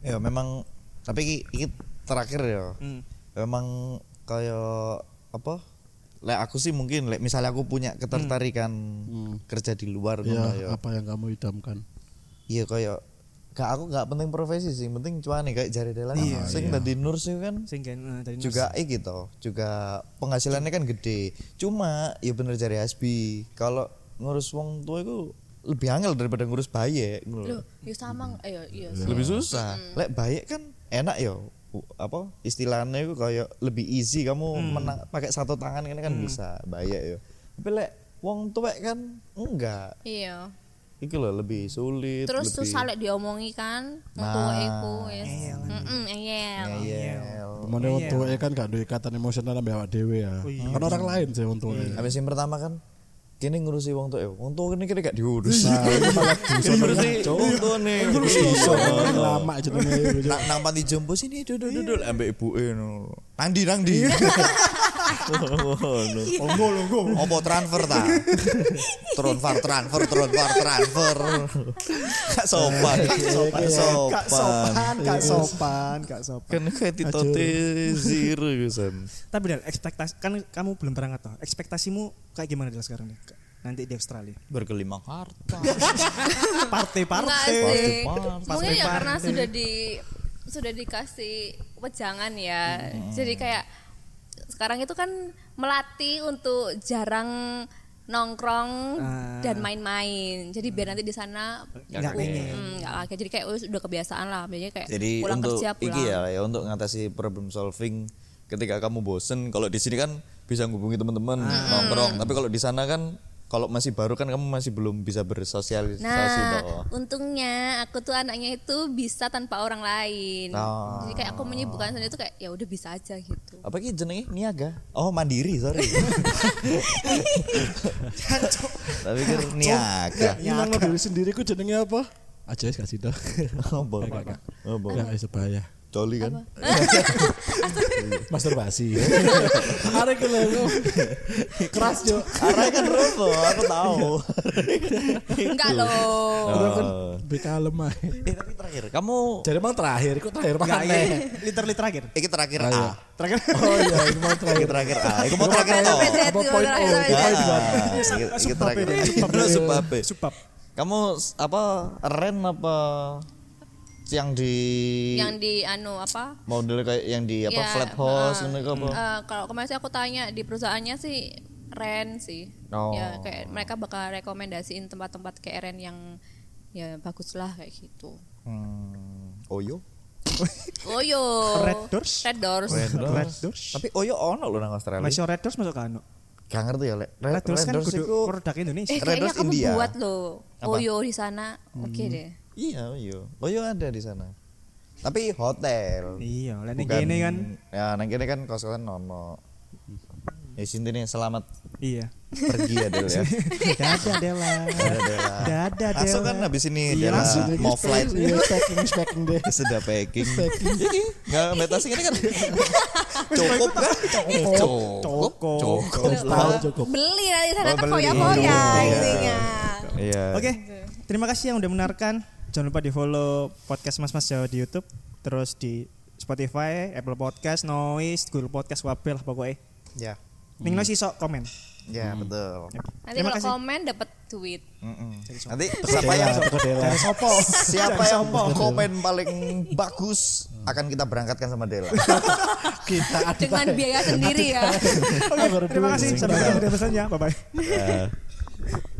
S1: Ya memang tapi iki, iki terakhir ya.
S2: Hmm.
S1: Memang kayak apa? Lek aku sih mungkin lek misalnya aku punya ketertarikan
S2: Hmm.
S1: kerja di luar
S2: Iya.
S1: ngono ya.
S4: Ya, apa yang kamu idamkan?
S1: Iya kayak gak aku gak penting profesi sih, penting cuan nih kayak jari delang.
S2: Iya,
S1: Sing tadi nur sih kan
S2: Sing gen eh, dari
S1: juga eh gitu juga penghasilannya kan gede cuma ya bener jari hasbi kalau ngurus wong tua itu lebih angel daripada ngurus bayi eh, ngono lho.
S3: loh ya sama ayo iya sih.
S1: lebih susah lek bayi kan enak yo U- apa istilahnya itu kayak lebih easy kamu mena- pakai satu tangan ini kan bisa bayi yo tapi lek wong tua kan enggak
S3: iya
S1: itu loh lebih sulit
S3: terus
S1: lebih
S3: susah lek diomongi kan untuk
S1: Nah.
S3: iku wis heeh iya
S1: ngeyel.
S4: Mana wong
S1: Iya.
S4: tuwek kan gak ada ikatan emosional ambek awak dhewe ya.
S1: Oh,
S4: Kan orang lain sih wong tuwek.
S1: Habis yang pertama kan kini ngurusi wong tua, Eh, wong tua kini kira gak diurus. Iya. ngurusi wong tua nih, Iya. ngurusi
S4: kan, Lama jenenge. gitu.
S1: Nak nang panti jompo sini duduk duduk Iya. ambek ibuke Iya. no. Nandi nandi. Longgo longgo. Opo transfer ta? Transfer transfer transfer transfer. Kak sopan, Iya,
S2: Kak
S1: kak sopan, sopan.
S2: sopan, kak
S4: Iya.
S2: sopan, kak sopan.
S1: Kan kayak titote zero gusan.
S2: Tapi Del, ekspektasi kan kamu belum berangkat toh. Ekspektasimu kayak gimana Del sekarang nih? Nanti di Australia.
S1: Berkelima harta.
S3: Enggak
S2: Partai-partai.
S3: sih.
S1: Partai-partai.
S3: Mungkin ya karena
S2: Partai-partai.
S3: sudah di sudah dikasih wejangan ya. Jadi kayak sekarang itu kan melatih untuk jarang nongkrong
S1: Ah.
S3: dan main-main. Jadi biar nanti di sana
S2: Enggak pengen.
S3: mm, nggak kaget. Jadi kayak us- udah kebiasaan lah. Biasanya kayak
S1: Jadi
S3: pulang
S1: untuk
S3: kerja pulang.
S1: iki ya, ya untuk ngatasi problem solving ketika kamu bosen kalau di sini kan bisa ngubungi teman-teman nongkrong tapi kalau di sana kan kalau masih baru kan kamu masih belum bisa bersosialisasi
S3: Nah,
S1: toh.
S3: untungnya aku tuh anaknya itu bisa tanpa orang lain.
S1: Oh.
S3: Jadi kayak aku menyibukkan sendiri tuh kayak ya udah bisa aja gitu.
S1: Apa ki jenenge niaga? Oh, mandiri, sorry. tapi kan niaga.
S4: Ngilang lo diri sendiri ku jenenge apa? Aja wis kasih dong.
S1: Apa? Apa?
S4: Enggak wis bahaya.
S1: Coli kan.
S4: Masturbasi. Arek ki lho. Keras yo.
S1: Arah kan robo, aku tahu. Iya.
S3: Enggak loh.
S4: Ora kan beka lemah.
S1: Eh, tapi terakhir, kamu
S4: Jadi emang terakhir, kok terakhir
S2: Enggak,
S4: banget.
S2: iya. Literally terakhir.
S1: iki terakhir A.
S2: Terakhir.
S4: Oh iya, ini mau
S1: Iki
S4: terakhir.
S1: terakhir A. Iku mau terakhir toh.
S3: Sampai Z,
S4: Apa point
S3: terakhir,
S4: O?
S3: sampai Z.
S1: Ah,
S2: Iya,
S1: iki- iki
S2: subbab
S1: terakhir.
S2: ini,
S1: Lu subbab.
S2: Subab.
S1: Kamu s- apa ren apa yang di
S3: Yang di anu apa?
S1: model kayak yang di Iya. apa
S3: Ya,
S1: flat house
S3: eh,
S1: ini kok apa?
S3: eh, kalau kemarin sih aku tanya di perusahaannya sih rent sih.
S1: Oh.
S3: Ya kayak mereka bakal rekomendasiin tempat-tempat kayak rent yang ya bagus lah kayak gitu.
S1: Hmm, Oyo.
S3: Oyo.
S2: Red Doors?
S3: Red Doors.
S2: Red Doors.
S1: Tapi Oyo ono loh nang Australia.
S2: Masih Red Doors masuk ke anu.
S1: Gak ngerti ya, Lek. Red,
S2: Red Doors kan
S1: Doors
S2: kudu
S1: iku-
S2: produk Indonesia.
S3: Eh
S1: Red
S3: kayaknya
S1: Doors
S3: kamu
S1: India.
S3: buat loh.
S1: Apa?
S3: Oyo di sana. Oke deh.
S1: Iya, Oyo. Oyo ada di sana. Tapi hotel.
S2: Iya, lah ning
S1: Bukan-
S2: kene kan.
S1: Ya, nang kene kan kos-kosan ono. Ya sintine selamat
S2: Iya.
S1: pergi ya Del ya.
S2: Dadah Dela.
S1: Dela.
S2: Dadah Dela.
S1: Langsung kan habis ini
S2: Iya,
S1: Dela
S2: langsung.
S1: mau flight
S4: Iya, packing, packing deh.
S1: sudah packing. Enggak batasi ini kan. Cukup kan? Cukup.
S2: Cukup.
S4: Tahu cukup.
S3: Beli nanti di sana
S1: Oh,
S3: kan
S1: beli.
S3: koya-koya
S1: Iya.
S3: intinya.
S1: Iya.
S2: Oke, terima kasih yang udah menarikan. Jangan lupa di follow podcast Mas Mas Jawa di YouTube, terus di Spotify, Apple Podcast, Noise, Google Podcast, Wabel lah pokoknya.
S1: Ya.
S2: Ning Noise iso komen.
S1: Ya, betul.
S3: Nanti
S2: Terima
S3: kalau
S2: kasih.
S3: komen dapat duit.
S1: Mm-mm. Nanti siapa yang
S4: Dela.
S2: Sopo?
S1: siapa yang komen paling bagus akan kita berangkatkan sama Dela.
S4: Kita ada
S3: Dengan biaya sendiri ya.
S4: Oh, iya,
S2: ya. Oke, terima kasih. Sampai jumpa di episode-nya. Bye bye.
S1: Ya.